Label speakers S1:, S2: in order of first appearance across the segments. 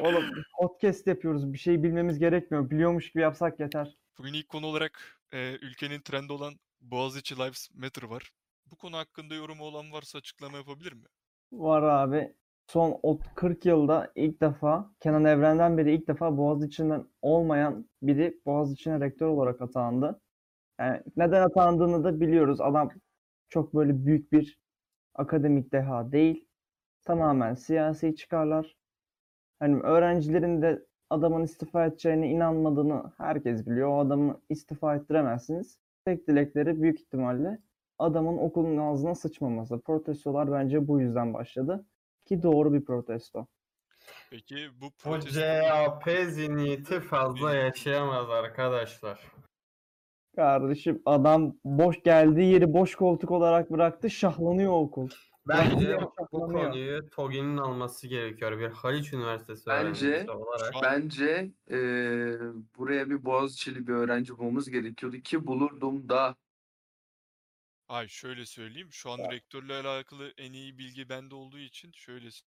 S1: Oğlum podcast yapıyoruz. Bir şey bilmemiz gerekmiyor. Biliyormuş gibi yapsak yeter.
S2: Bugün ilk konu olarak e, ülkenin trendi olan Boğaziçi Lives Matter var. Bu konu hakkında yorumu olan varsa açıklama yapabilir mi?
S1: Var abi. Son ot- 40 yılda ilk defa Kenan Evren'den beri ilk defa Boğaziçi'nden olmayan biri Boğaziçi'ne rektör olarak atandı. Yani neden atandığını da biliyoruz. Adam çok böyle büyük bir akademik deha değil. Tamamen siyasi çıkarlar. Hani öğrencilerin de adamın istifa edeceğine inanmadığını herkes biliyor. O adamı istifa ettiremezsiniz. Tek dilekleri büyük ihtimalle adamın okulun ağzına sıçmaması. Protestolar bence bu yüzden başladı. Ki doğru bir protesto.
S2: Peki bu
S3: Bu
S2: protesto...
S3: CHP
S4: şey.
S3: zihniyeti fazla yaşayamaz arkadaşlar.
S1: Kardeşim adam boş geldiği yeri boş koltuk olarak bıraktı. Şahlanıyor okul.
S3: Bence
S1: Bence
S3: bu
S1: saklanıyor.
S3: konuyu TOGİ'nin alması gerekiyor. Bir Haliç Üniversitesi
S5: Bence-
S3: öğrencisi olarak.
S2: Şu an-
S5: Bence eee, buraya bir Boğaziçi'li bir öğrenci bulmamız gerekiyordu ki bulurdum da.
S2: Ay şöyle söyleyeyim. Şu an rektörle alakalı en iyi bilgi bende olduğu için şöyle s-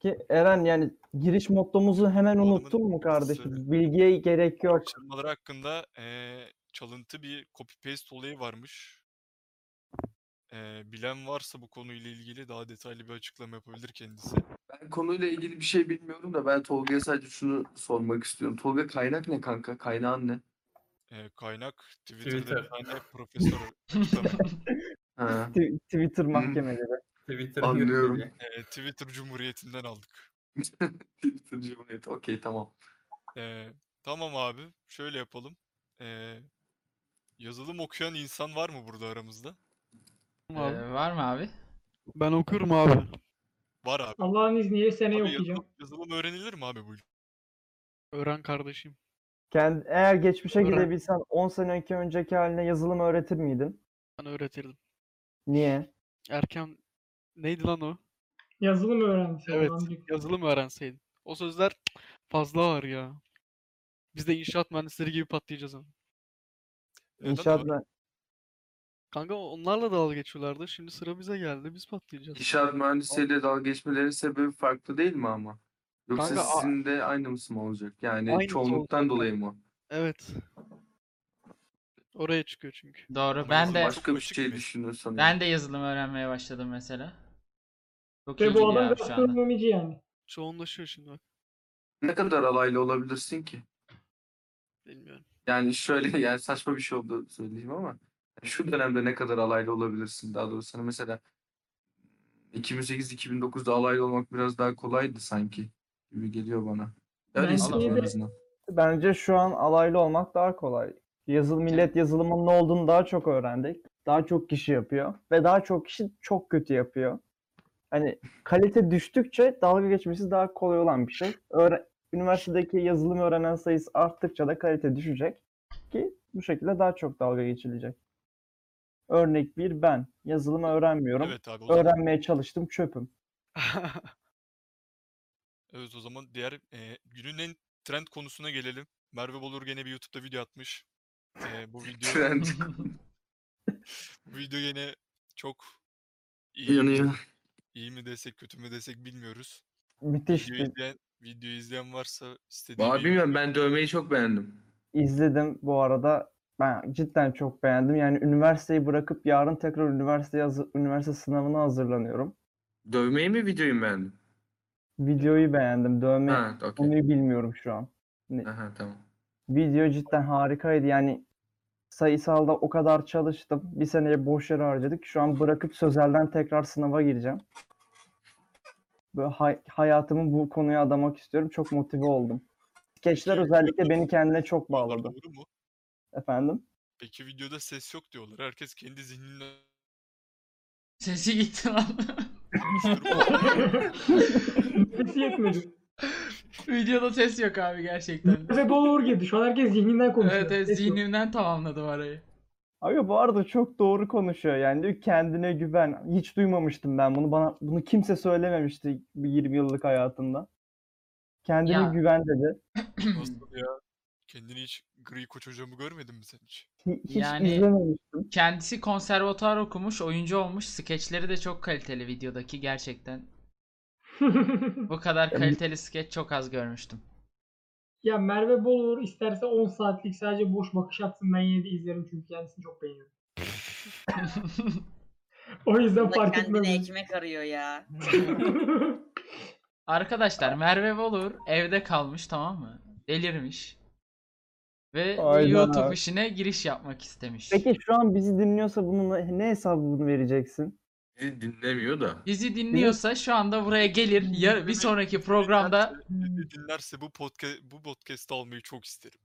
S1: Ki Eren yani giriş mottomuzu hemen
S2: Oğlumun
S1: unuttun mu kardeşim?
S2: ötesi.
S1: Bilgiye gerek yok.
S2: araştırmaları hakkında e, çalıntı bir copy paste olayı varmış. E, bilen varsa bu konuyla ilgili daha detaylı bir açıklama yapabilir kendisi.
S5: Ben konuyla ilgili bir şey bilmiyorum da ben Tolga'ya sadece şunu sormak istiyorum. Tolga kaynak ne kanka? Kaynağın ne?
S2: E, kaynak Twitter'da bir
S3: Twitter.
S2: tane profesör açıklama-
S5: Ha.
S1: Tw- Twitter mahkemeleri.
S3: Twitter
S5: Anlıyorum.
S3: yürütücü.
S2: e, Twitter Cumhuriyeti'nden aldık.
S5: Twitter Cumhuriyeti. Okey tamam.
S2: Ee, tamam abi, şöyle yapalım. Ee, yazılım okuyan insan var mı burada aramızda?
S6: Tamam abi.
S7: Ee, var mı abi?
S6: Ben okuyorum abi.
S2: Var abi.
S8: Allah'ın izniyle seneye
S2: Abi
S8: okuyacağım.
S2: yazılım, yazılım öğrenilir mi abi bu? ülkede?
S6: Öğren kardeşim.
S1: Kend- eğer geçmişe
S6: Öğren.
S1: gidebilsen 10 sene önce- önceki haline yazılım öğretir miydin?
S6: Ben öğretirdim.
S1: Niye?
S6: Erken neydi lan o?
S8: Yazılım öğrencisi.
S6: Evet.
S8: Allah'ın izniyle.
S6: Yazılım öğrenseydin. O sözler fazla ağır ya. Biz de inşaat mühendisleri gibi patlayacağız ama.
S2: Neden
S1: İnşaat
S2: abi?
S1: ben-
S6: Kanka onlarla dalga geçiyorlardı. Şimdi sıra bize geldi. Biz patlayacağız.
S5: İnşaat mühendisiyle dalga geçmelerin sebebi farklı değil mi ama? Yoksa
S6: Kanka, a-
S5: sizin de aynı mısın olacak? Yani
S6: Aynısı
S5: çoğunluktan
S6: olacak.
S5: dolayı mı?
S6: Evet. Oraya çıkıyor çünkü.
S7: Doğru.
S2: Ama
S7: Ben
S2: yazılım
S7: de
S2: başka-
S5: Başka bir
S2: Açık
S5: şey
S2: bir-
S5: düşünüyorsan.
S7: ben de yazılım öğrenmeye başladım mesela. Çok
S8: Ve
S7: iyi
S8: Şey, bu
S7: gidiyor
S8: adam
S7: abi şu anda.
S8: gastronomici yani.
S6: Çoğunlaşıyor şimdi bak.
S5: Ne kadar alaylı olabilirsin ki?
S6: Bilmiyorum.
S5: Yani şöyle yani saçma bir şey oldu söyleyeyim ama şu dönemde ne kadar alaylı olabilirsin daha doğrusu hani mesela 2008-2009'da alaylı olmak biraz daha kolaydı sanki gibi geliyor bana. Öyle
S8: Bence
S5: hissediyorum en
S8: de-
S5: azından.
S1: Bence şu an alaylı olmak daha kolay. Yazıl millet yazılımın ne olduğunu daha çok öğrendik. Daha çok kişi yapıyor ve daha çok kişi çok kötü yapıyor. Hani kalite düştükçe dalga geçmesi daha kolay olan bir şey. Öğre- Üniversitedeki yazılım öğrenen sayısı arttıkça da kalite düşecek ki bu şekilde daha çok dalga geçilecek. Örnek bir ben yazılımı öğrenmiyorum.
S2: Evet abi, o zaman,
S1: Öğrenmeye çalıştım çöpüm.
S2: evet o zaman diğer e, günün en trend konusuna gelelim. Merve Bolur gene bir YouTube'da video atmış. E, bu video
S5: Trend
S2: bu video gene çok iyi,
S5: yanıyor.
S2: iyi mi desek kötü mü desek bilmiyoruz. Videoyu
S1: Müthişti.
S2: izleyen, videoyu izleyen varsa istediği
S5: Abi
S2: bir
S5: bilmiyorum ben dövmeyi çok beğendim.
S1: İzledim bu arada. Ben cidden çok beğendim. Yani üniversiteyi bırakıp yarın tekrar üniversiteye hazır- üniversite sınavına hazırlanıyorum.
S5: Dövmeyi mi videoyu mu beğendin?
S1: Videoyu beğendim. Dövme
S5: Ha, okey.
S1: konuyu bilmiyorum şu an.
S5: Aha, tamam.
S1: Video cidden harikaydı. Yani sayısalda o kadar çalıştım. Bir seneye boş yere harcadık. Şu an bırakıp sözelden tekrar sınava gireceğim. Böyle hay- hayatımı bu konuya adamak istiyorum. Çok motive oldum. Skeçler
S2: Peki,
S1: özellikle beni kendine çok
S2: videolar
S1: bağladı.
S2: Doğru mu?
S1: Efendim?
S2: Peki videoda ses yok diyorlar. Herkes kendi zihninde
S7: Sesi gitti lan.
S8: Sesi yetmedi.
S7: Videoda ses yok abi gerçekten.
S8: Ve bol uğur girdi. Şu an herkes zihninden konuşuyor.
S7: evet evet
S8: Ses yok.
S7: zihnimden tamamladım arayı.
S1: Abi bu arada çok doğru konuşuyor. Yani diyor ki, kendine güven. Hiç duymamıştım ben bunu. Bana bunu kimse söylememişti bu 20 yıllık hayatımda. Kendine
S7: Ya.
S1: güven dedi.
S2: Nasıl ya? Kendini hiç gri koç hocamı görmedin mi sen hiç?
S1: Hi- Hiç
S7: Yani-
S1: izlememiştim.
S7: Kendisi konservatuar okumuş, oyuncu olmuş. Skeçleri de çok kaliteli videodaki gerçekten. Bu kadar kaliteli skeç çok az görmüştüm.
S8: ya Merve Bolur isterse 10 saatlik sadece boş bakış atsın ben yine de izlerim çünkü kendisini çok beğeniyorum. O yüzden
S9: Bu da
S8: fark etmez.
S9: kendine ekmek arıyor ya.
S7: Arkadaşlar Merve Bolur evde kalmış tamam mı? Delirmiş. Ve
S1: Aynen
S7: YouTube
S1: abi.
S7: işine giriş yapmak istemiş.
S1: Peki şu an bizi dinliyorsa bunun ne- ne hesabını vereceksin?
S5: Bizi dinlemiyor da.
S7: Bizi dinliyorsa şu anda buraya gelir. Ya, bir sonraki programda
S2: Beni dinlerse bu podcast bu podcast'ı almayı çok isterim.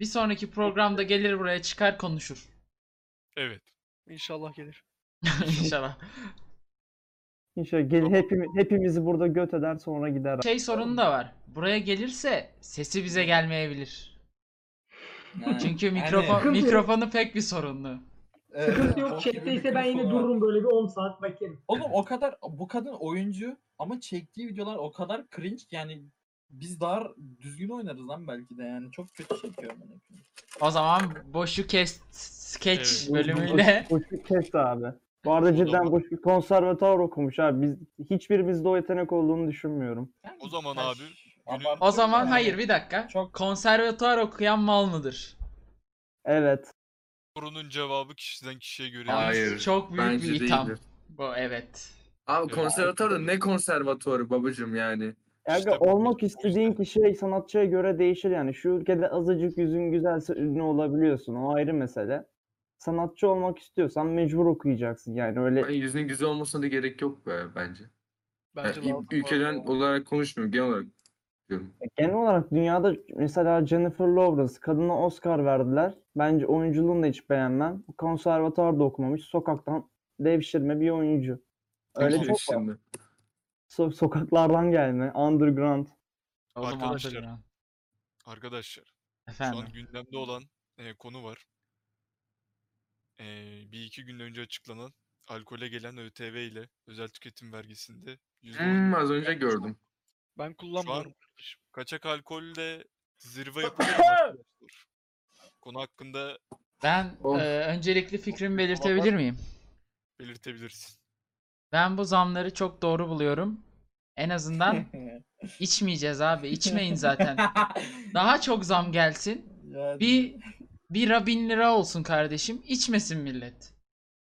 S7: bir sonraki programda gelir buraya çıkar konuşur.
S2: Evet.
S6: İnşallah gelir.
S7: İnşallah.
S1: İnşallah gel, hepimi- hepimizi burada göt eder sonra gider.
S7: Şey sorunu da var. Buraya gelirse sesi bize gelmeyebilir. Çünkü mikrofon
S8: Sıkıntı yok.
S7: mikrofonu pek bir sorunlu.
S8: Sıkıntı
S2: Ee,
S8: yok. şey, Chatteyse ben yine dururum böyle bir 10 saat bakarım.
S4: Oğlum o kadar bu kadın oyuncu ama çektiği videolar o kadar cringe yani biz daha düzgün oynarız lan belki de yani çok kötü çekiyor amına koyayım.
S7: O zaman boşu kes skeç
S2: Evet.
S7: bölümüyle
S1: Boşluk kes abi. Bu arada cidden boşluk konservatuar okumuş abi. Biz hiçbirimizde o yetenek olduğunu düşünmüyorum.
S4: Yani
S2: O zaman
S4: taş-
S2: abi, günün-
S4: abartıyor
S7: o zaman
S4: yani.
S7: hayır bir dakika.
S4: Çok-
S7: Konservatuar okuyan mal mıdır?
S1: Evet.
S2: Sorunun cevabı kişiden kişiye göre.
S5: Hayır.
S2: değişir.
S7: Çok büyük
S5: Bence
S7: bir itham.
S5: değildir.
S7: Bu evet.
S5: Abi konservatuvar da ne konservatuarı babacım yani.
S1: Yani
S2: İşte bu-
S1: olmak
S2: bu
S1: istediğin
S2: yüzden.
S1: kişiye, sanatçıya göre değişir yani. Şu ülkede azıcık yüzün güzelse ünlü olabiliyorsun. O ayrı mesele. Sanatçı olmak istiyorsan mecbur okuyacaksın yani öyle.
S5: Ben yüzünün güzel olmasına da gerek yok be bence.
S6: Bence
S5: Yani
S6: lazım bu
S5: ülkeden
S6: arada.
S5: olarak konuşmuyorum genel olarak diyorum.
S1: Genel olarak dünyada mesela Jennifer Lawrence kadına Oscar verdiler. Bence oyunculuğunu da hiç beğenmem. Konservatuvar da okumamış. Sokaktan devşirme bir oyuncu. Öyle
S5: Kim
S1: çok var.
S5: şimdi?
S1: So- sokaklardan gelme. Underground.
S7: Oğlum
S2: Arkadaşlar,
S7: Underground.
S2: Arkadaşlar şu
S7: Efendim.
S2: an gündemde olan e, konu var. E, bir iki gün önce açıklanan alkole gelen ÖTV ile özel tüketim vergisinde yüzde
S5: Hmm,
S2: on-
S5: az önce gördüm.
S6: Ben kullanmıyorum.
S2: kaçak alkolde zirve yapılıyor arkadaşlar. Konu hakkında
S7: Ben
S5: Of.
S7: e, öncelikli fikrimi belirtebilir miyim?
S2: belirtebilirsin.
S7: Ben bu zamları çok doğru buluyorum. En azından içmeyeceğiz abi. İçmeyin zaten. Daha çok zam gelsin.
S4: Yani-
S7: Bir bira bin lira olsun kardeşim. İçmesin millet.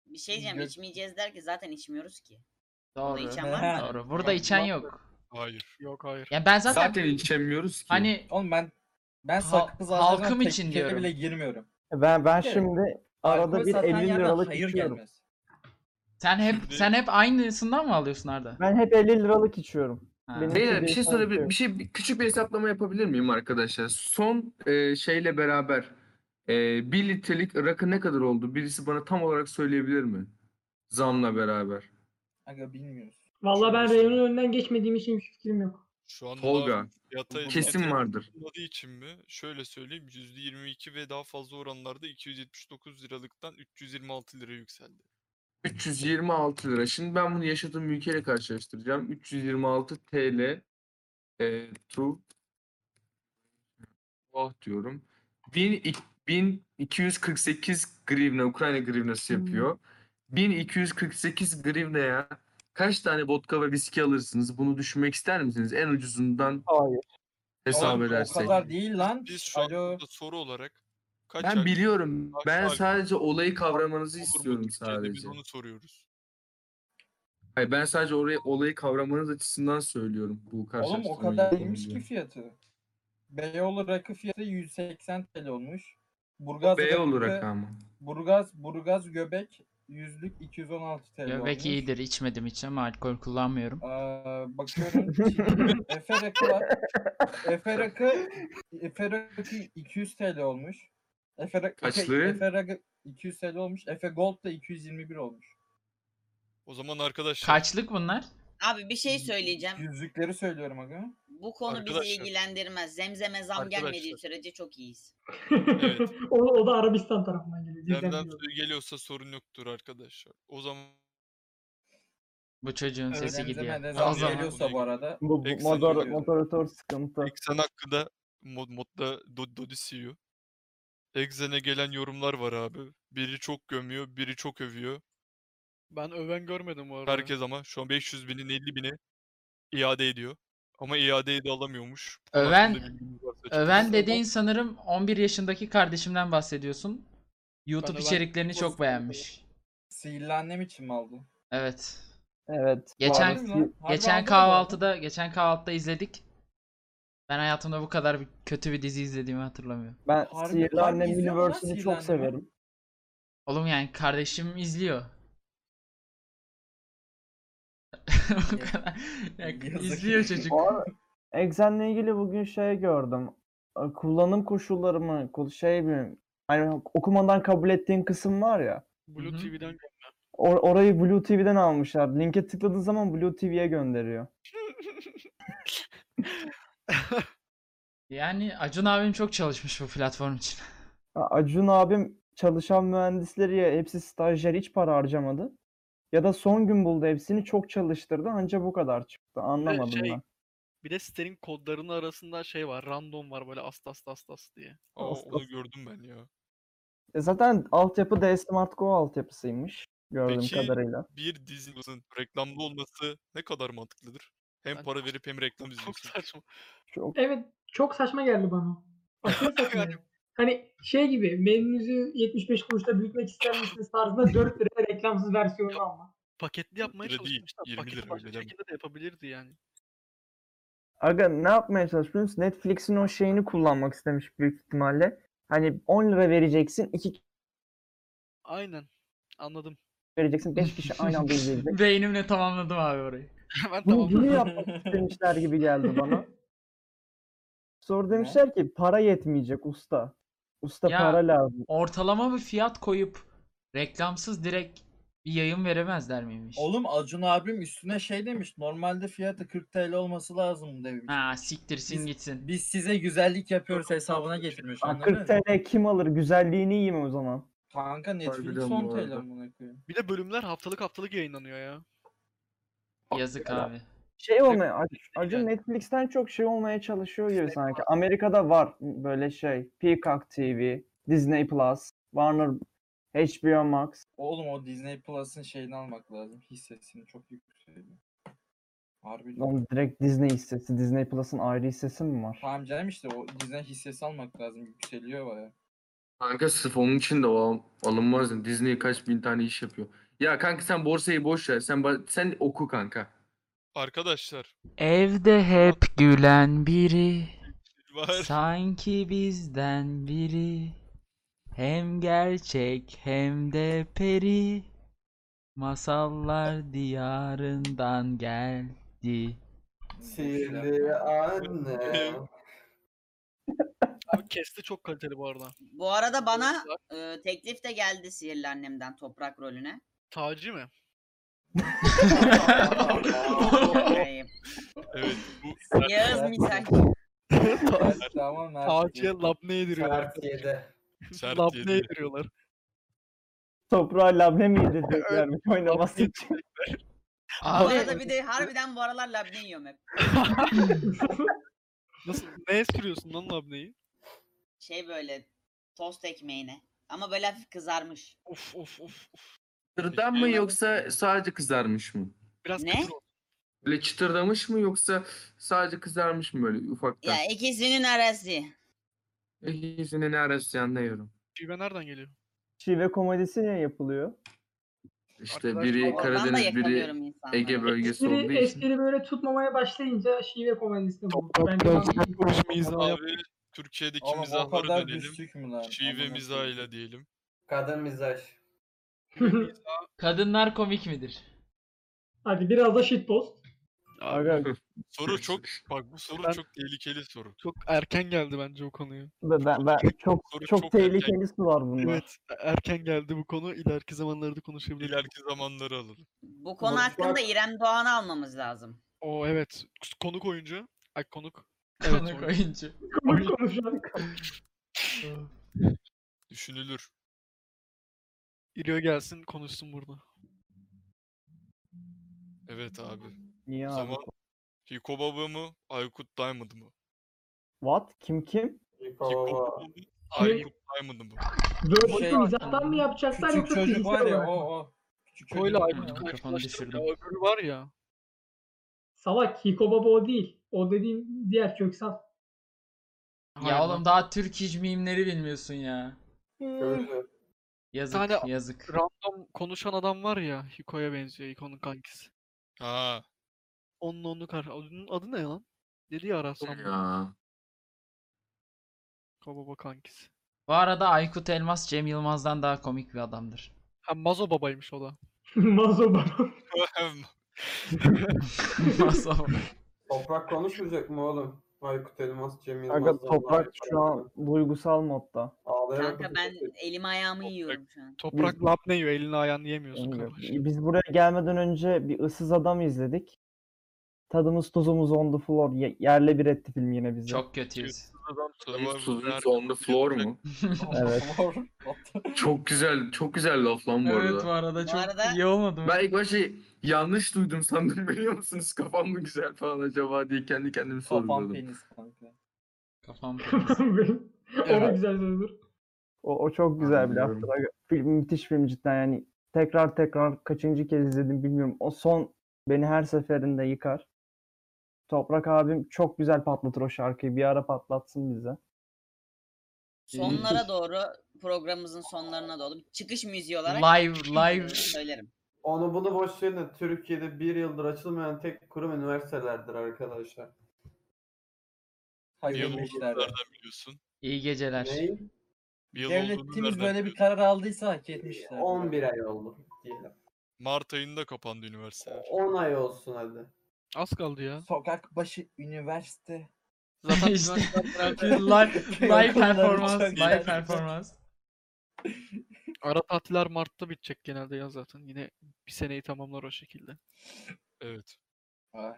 S9: Bir şey diyeceğim
S4: Gö-
S9: içmeyeceğiz der ki zaten içmiyoruz ki.
S7: Doğru.
S9: içen var
S4: mı?
S7: Doğru. Burada içen yok.
S2: Hayır.
S6: Yok hayır.
S7: Ya ben zaten,
S5: Zaten içemiyoruz ki.
S7: hani
S4: Oğlum ben ben
S7: Ha-
S4: sakız ağacına
S7: halkım
S4: tek
S7: için
S4: tükete
S7: diyorum.
S4: bile girmiyorum.
S1: E Ben ben
S4: Evet.
S1: şimdi
S4: Alkol
S1: arada bir
S4: satan
S1: 50
S4: yerden
S1: liralık
S7: şey
S4: hayır
S1: içiyorum.
S4: gelmez.
S7: sen hep
S2: Şimdi-
S7: sen hep aynısından mı alıyorsun Arda?
S1: Ben hep 50 liralık içiyorum.
S7: Ha.
S1: benim-
S5: Beyler bir
S1: Kimse
S5: şey
S1: değişen bir şey
S5: sorabilir,
S1: yok.
S5: bir şey bir- küçük bir hesaplama yapabilir miyim arkadaşlar? Son e, şeyle beraber e, 1 litrelik rakı ne kadar oldu? Birisi bana tam olarak söyleyebilir mi? Zamla beraber.
S4: Aga bilmiyoruz.
S8: Vallahi ben
S2: Şöyle
S8: reyonun önünden geçmediğim için bir fikrim yok.
S2: Şu anda
S5: Tolga,
S2: fiyata
S5: kesin
S2: fiyata
S5: vardır.
S2: yapılmadığı için mi? Şöyle söyleyeyim %22 ve daha fazla oranlarda 279 liralıktan 326 lira yükseldi.
S5: 326 lira. Şimdi ben bunu yaşadığım ülkeyle karşılaştıracağım. 326 TL e, tu oh diyorum. 1000 1248 grivne, Ukrayna grivnası
S8: Hmm.
S5: yapıyor. 1248 grivneye kaç tane vodka ve viski alırsınız? Bunu düşünmek ister misiniz? En ucuzundan
S1: Hayır.
S5: hesap
S4: Oğlum, o
S5: edersek.
S4: kadar değil lan.
S2: Biz şu an
S4: Alo.
S2: burada soru olarak kaç
S5: Ben
S2: ay-
S5: biliyorum.
S2: kaç
S5: Ben
S2: ay-
S5: sadece olayı kavramanızı
S2: olur mu
S5: istiyorum
S2: Türkiye'de? Biz
S5: sadece.
S2: onu soruyoruz.
S5: Hayır ben sadece orayı olayı kavramanız açısından söylüyorum bu
S4: Oğlum
S5: karşılaştırmayı.
S4: o kadar değilmiş ki fiyatı. Beyoğlu rakı fiyatı 180 TL olmuş. Burgaz
S5: B
S4: rakı-
S5: olarak ama.
S4: Burgaz, Burgaz göbek yüzlük 216 TL olmuş.
S7: Göbek iyidir. içmedim hiç ama alkol kullanmıyorum.
S4: Ee, bakıyorum Çin- Efe rakı var. Efe rakı, Efe rakı 200 TL olmuş. Efe rakı,
S5: Kaçlı?
S4: Efe rakı 200 TL olmuş. Efe Gold da 221 olmuş.
S2: O zaman
S4: Şey-
S2: arkadaşlar
S7: Kaçlık bunlar?
S9: Abi bir şey söyleyeceğim.
S4: Yüzlükleri söylüyorum aga.
S9: Bu konu bizi
S2: Arkadaşlar.
S9: ilgilendirmez. Zemzeme zam gelmediği sürece çok iyiyiz.
S2: Evet.
S8: o, o da Arabistan tarafından geliyor. Bizden
S2: demden
S8: değil o.
S2: suyu geliyorsa sorun yoktur arkadaşlar. O zaman
S7: Bu çocuğun
S4: Evet,
S7: sesi gidiyor.
S4: Benzeme de
S7: O
S4: zam
S2: zaman-
S4: geliyorsa bu arada.
S1: Bu, bu
S2: Ekstra
S1: motor,
S4: geliyor.
S1: moderatör sıkıntı.
S2: Eksen hakkında mod, modda Do- Dodi CEO. Exen'e gelen yorumlar var abi. Biri çok gömüyor, biri çok övüyor.
S6: Ben öven görmedim bu arada.
S2: Herkes ama şu an 500 binin 50 bini iade ediyor. Ama iadeyi de alamıyormuş. Bu
S7: Öven-
S2: hakkında bilginiz varsa açıklarsanız.
S7: Öven Ee, dediğin sanırım 11 yaşındaki kardeşimden bahsediyorsun. YouTube
S6: Ben Öven
S7: içeriklerini
S4: Sports'tan
S7: çok beğenmiş.
S4: Sihirli annem için mi aldın?
S7: Evet.
S1: Evet.
S7: Geçen-
S1: Varus-
S4: Harbi mi lan? Harbi aldın
S7: Geçen
S4: mı?
S7: kahvaltıda, geçen kahvaltıda izledik. Ben hayatımda bu kadar bir- kötü bir dizi izlediğimi hatırlamıyorum.
S1: Ben
S4: Harbi-
S1: Sihirli
S4: harbi
S1: Annem
S4: izliyor mu lan
S1: Universe'ini
S4: Sihirli
S1: çok
S4: Annem'i?
S1: severim.
S7: Oğlum yani kardeşim izliyor. Bu kadar. Ya,
S4: Yazık.
S7: izliyor çocuk.
S1: Bu arada Exen'le ilgili bugün şey gördüm. Ee, Kullanım koşulları mı? kul- Şey mi? Hani okumadan kabul ettiğin kısım var ya.
S2: Blue
S7: Hı hı.
S2: TV'den
S1: Or- orayı Blue TV'den almışlar. Linke tıkladığın zaman Blue TV'ye gönderiyor.
S7: Yani Acun abim çok çalışmış bu platform için.
S1: Ya Acun abim çalışan mühendisleri ya hepsi stajyer hiç para harcamadı. Ya da son gün buldu hepsini çok çalıştırdı anca bu kadar çıktı. Anlamadım
S6: şey,
S1: ben.
S6: Bir de sitenin kodlarının arasında şey var. Random var böyle astas astas astas diye.
S2: Aa,
S1: Aslı-
S2: onu gördüm ben ya.
S1: E zaten altyapı DS Smart Go altyapısıymış gördüğüm
S2: Peki-
S1: kadarıyla.
S2: Bir dizinin reklamlı olması ne kadar mantıklıdır? Hem
S6: Ben-
S2: para verip hem reklam
S6: Çok
S2: izliyorsun.
S6: saçma.
S1: Çok
S8: Evet çok saçma geldi bana. Aşırı saçma. yani. Hani şey gibi menünüzü 75 kuruşta büyütmek ister misiniz tarzında 4 liraya reklamsız versiyonu alma.
S6: Paketli yapmaya
S2: lira değil,
S6: çalışmışlar.
S2: 20
S6: Paketi
S2: lira
S6: başka
S2: öyle deme.
S6: şekilde de yapabilirdi yani.
S1: Aga ne yapmaya çalışıyorsunuz? Netflix'in o şeyini kullanmak istemiş büyük ihtimalle. Hani 10 lira vereceksin, 2 kişi
S6: Aynen. Anladım.
S1: vereceksin, 5 kişi aynı anda izleyecek.
S7: Beynimle tamamladım abi orayı.
S6: Hemen
S1: Bunu,
S6: tamam.
S1: bunu yapmak istemişler gibi geldi bana. Sonra demişler ki para yetmeyecek usta. Usta
S7: Ya-
S1: para lazım.
S7: Ortalama bir fiyat koyup reklamsız direkt bir yayın veremezler miymiş?
S4: Oğlum Acun abim üstüne şey demiş. Normalde fiyatı 40 TL olması lazım demiş.
S7: Ha siktirsin
S4: Biz-
S7: gitsin.
S4: Biz size güzellik yapıyoruz hesabına getirmiş.
S1: Aa,
S4: anladın
S1: 40
S4: mı?
S1: TL kim alır? Güzelliğini yiyeyim o zaman.
S4: Kanka Netflix
S5: Harbiden
S4: 10
S5: bu
S4: TL
S5: arada.
S4: amına koyayım.
S6: Bir de bölümler haftalık haftalık yayınlanıyor ya.
S7: Yazık abi.
S1: Şey olmaya, Ac- Acun
S6: Yani.
S1: Netflix'ten çok şey olmaya çalışıyor gibi sanki. Amerika'da var böyle şey. Peacock TV, Disney Plus, Warner, HBO Max.
S4: Oğlum o Disney Plus'ın şeyini almak lazım. Hissesini çok yükseliyor. Harbi.
S1: Lan direkt Disney hissesi, Disney Plus'ın ayrı hissesi mi var?
S4: Tamam canım işte o Disney hissesi almak lazım. Yükseliyor baya.
S5: Kanka sırf onun için de o al- alınmaz. yani. Disney kaç bin tane iş yapıyor. Ya kanka sen borsayı boş ver. Sen ba- sen oku kanka.
S2: Arkadaşlar
S7: Evde hep gülen biri,
S2: var.
S7: sanki bizden biri. Hem gerçek hem de peri. Masallar diyarından geldi.
S3: Sihirli anne.
S6: Ama kesti çok kaliteli bu arada.
S9: Bu arada bana e, teklif de geldi sihirli annemden toprak rolüne.
S6: Taci mi?
S9: Ayıp.
S2: Evet bu
S9: Ee, Yağız misal.
S4: tamam
S6: Taci'ye labne yediriyorlar.
S3: Saat 7.
S2: sert
S6: Labne
S2: yedi.
S6: yediriyorlar.
S1: Toprağa labne mi yedireceklermiş oynaması için?
S9: Bu
S7: Abi
S9: arada bir de harbiden bu aralar labne yiyorum hep.
S6: Nasıl? Neye sürüyorsun lan labneyi?
S9: Şey böyle tost ekmeğine. Ama böyle hafif kızarmış.
S6: Of of of. of.
S5: Çıtırdan mı yoksa sadece kızarmış mı?
S6: Biraz
S9: Ne?
S6: kıtır oldu.
S5: Böyle çıtırdamış mı yoksa sadece kızarmış mı böyle ufaktan? E,
S9: Ya ikisinin arası.
S5: İkisinin arası anlıyorum.
S6: Şive Şey, nereden geliyor?
S1: Şive komedisi ne yapılıyor?
S5: İşte
S6: Arkadaş,
S5: biri
S9: Oradan da
S5: Karadeniz, biri
S9: yakalıyorum insanları.
S5: Ege bölgesi olduğu
S8: Espri,
S5: için.
S8: espri böyle tutmamaya başlayınca şive komedisini buldum. Bence mantıklı.
S2: Abi Türkiye'deki
S4: Oğlum o
S2: mizahlara
S4: kadar
S2: dönelim.
S4: düştük mü lan?
S2: Şive
S4: Amına koyayım.
S2: mizahıyla diyelim.
S3: Kadın mizaj.
S7: kadınlar komik midir?
S8: Hadi biraz da shitpost.
S1: Aga
S2: Soru çok bak bu soru
S6: Ben-
S2: çok tehlikeli soru.
S6: Çok erken geldi bence o konuya.
S1: ben, ben çok
S2: Soru
S1: çok
S2: çok erken.
S1: tehlikelisi var bunda.
S6: Evet, erken geldi bu konu. İleriki zamanlarda konuşabiliriz.
S2: İleriki zamanları alalım.
S9: Bu konu
S4: Bak-
S9: hakkında İrem Doğan'ı almamız lazım.
S6: O evet. Konuk oyuncu. Ay konuk. Evet,
S7: Konuk
S6: oyuncu.
S7: oyuncu.
S8: Komik konuşan.
S2: Düşünülür.
S6: İlio gelsin konuşsun burada.
S2: Evet abi.
S1: Niye
S2: O
S1: abi?
S2: zaman Hiko Baba mı? Aykut Diamond mı?
S1: What? Kim kim?
S2: Hiko
S3: Baba.
S2: Baba mı? Aykut Diamond mı?
S8: Böyle
S4: Şey-
S8: mizahtan mı yapacaklar
S4: Küçük
S8: yoksa
S4: çocuk
S8: fiziksel
S4: var ya
S8: olarak mı?
S4: o o. Küçük
S6: Koyla
S4: çocuk.
S6: Aykut'u
S7: Mikrofonu
S6: karşılaştırdım.
S7: düşürdüm.
S6: Öbürü var ya.
S8: Salak Hiko Baba o değil. O dediğim diğer Köksal.
S6: Hayır
S7: Ya oğlum
S6: lan.
S7: daha Türk hiç mimleri bilmiyorsun ya.
S4: Köylü.
S7: Yazık
S6: tane-
S7: yazık.
S6: Random konuşan adam var ya Hiko'ya benziyor Hiko'nun kankisi.
S2: Ha.
S6: Onun onu kar. Onun adı ne lan? Dedi ya Arasam.
S5: Ya.
S6: Kababa kankisi.
S7: Bu arada Aykut Elmas Cem Yılmaz'dan daha komik bir adamdır.
S6: Ha Mazo babaymış o da.
S8: Mazo Baba.
S7: Masum.
S3: Toprak konuşmayacak mı oğlum? Aykut Elmas, Cem Yılmaz.
S1: Kanka
S3: Zeki
S1: toprak
S3: Aykut.
S1: şu an duygusal modda.
S3: Ağlayarak
S9: Kanka ben elimi ayağımı yiyorum şu an.
S6: Toprak lap ne yiyor? Elini ayağını yemiyorsun
S1: Bilmiyorum.
S6: kardeşim.
S1: Biz buraya gelmeden önce bir ıssız adam izledik. Tadımız tuzumuz on the floor. Ye- Yerle bir etti film yine bizi.
S7: Çok kötüyüz.
S2: Survivor
S5: Tuzumuz
S2: nerede
S5: on the floor
S2: yapılacak?
S5: mu?
S1: Evet.
S5: Çok güzel, çok güzel laf lan bu
S7: Evet bu
S5: arada.
S7: arada çok
S9: arada-
S7: iyi olmadı mı?
S5: Ben ilk başta yanlış duydum sandım biliyor musunuz? Kafam mı güzel falan acaba diye kendi kendime
S4: Kafam
S5: sorguladım.
S4: penis kanka.
S7: Kafam
S8: o da güzel sözdür.
S1: O, o çok güzel bir
S5: Anlıyorum.
S1: laftı. Film, müthiş film cidden yani. Tekrar tekrar kaçıncı kez izledim bilmiyorum. O son beni her seferinde yıkar. Toprak abim çok güzel patlatır o şarkıyı. Bir ara patlatsın bize.
S9: Sonlara doğru programımızın sonlarına doğru bir çıkış müziği olarak
S7: Live
S9: e,
S7: live
S9: söylerim.
S3: Onu bunu boş verin de Türkiye'de bir yıldır açılmayan tek kurum üniversitelerdir arkadaşlar.
S2: Bir yıl
S4: Hayırlı
S2: olduğunu
S4: işler.
S2: nereden biliyorsun?
S7: iyi geceler.
S3: Ney?
S2: Bir yıl olduğunu
S4: Devletimiz
S2: nereden
S4: böyle bir
S2: biliyorsun?
S4: karar aldıysa hak etmişler.
S3: 11 ay oldu diyelim.
S2: Mart ayında kapandı üniversiteler.
S3: 10 ay olsun hadi.
S6: Az kaldı ya.
S4: Sokak başı üniversite.
S6: Zaten
S7: İşte.
S6: üniversiteden beraber
S7: live live
S4: Okulları
S7: performans
S4: çok
S7: live
S4: güzel.
S7: performans.
S6: ara tatiller Mart'ta bitecek genelde ya zaten. Yine bir seneyi tamamlar o şekilde.
S2: Evet.
S4: Ay.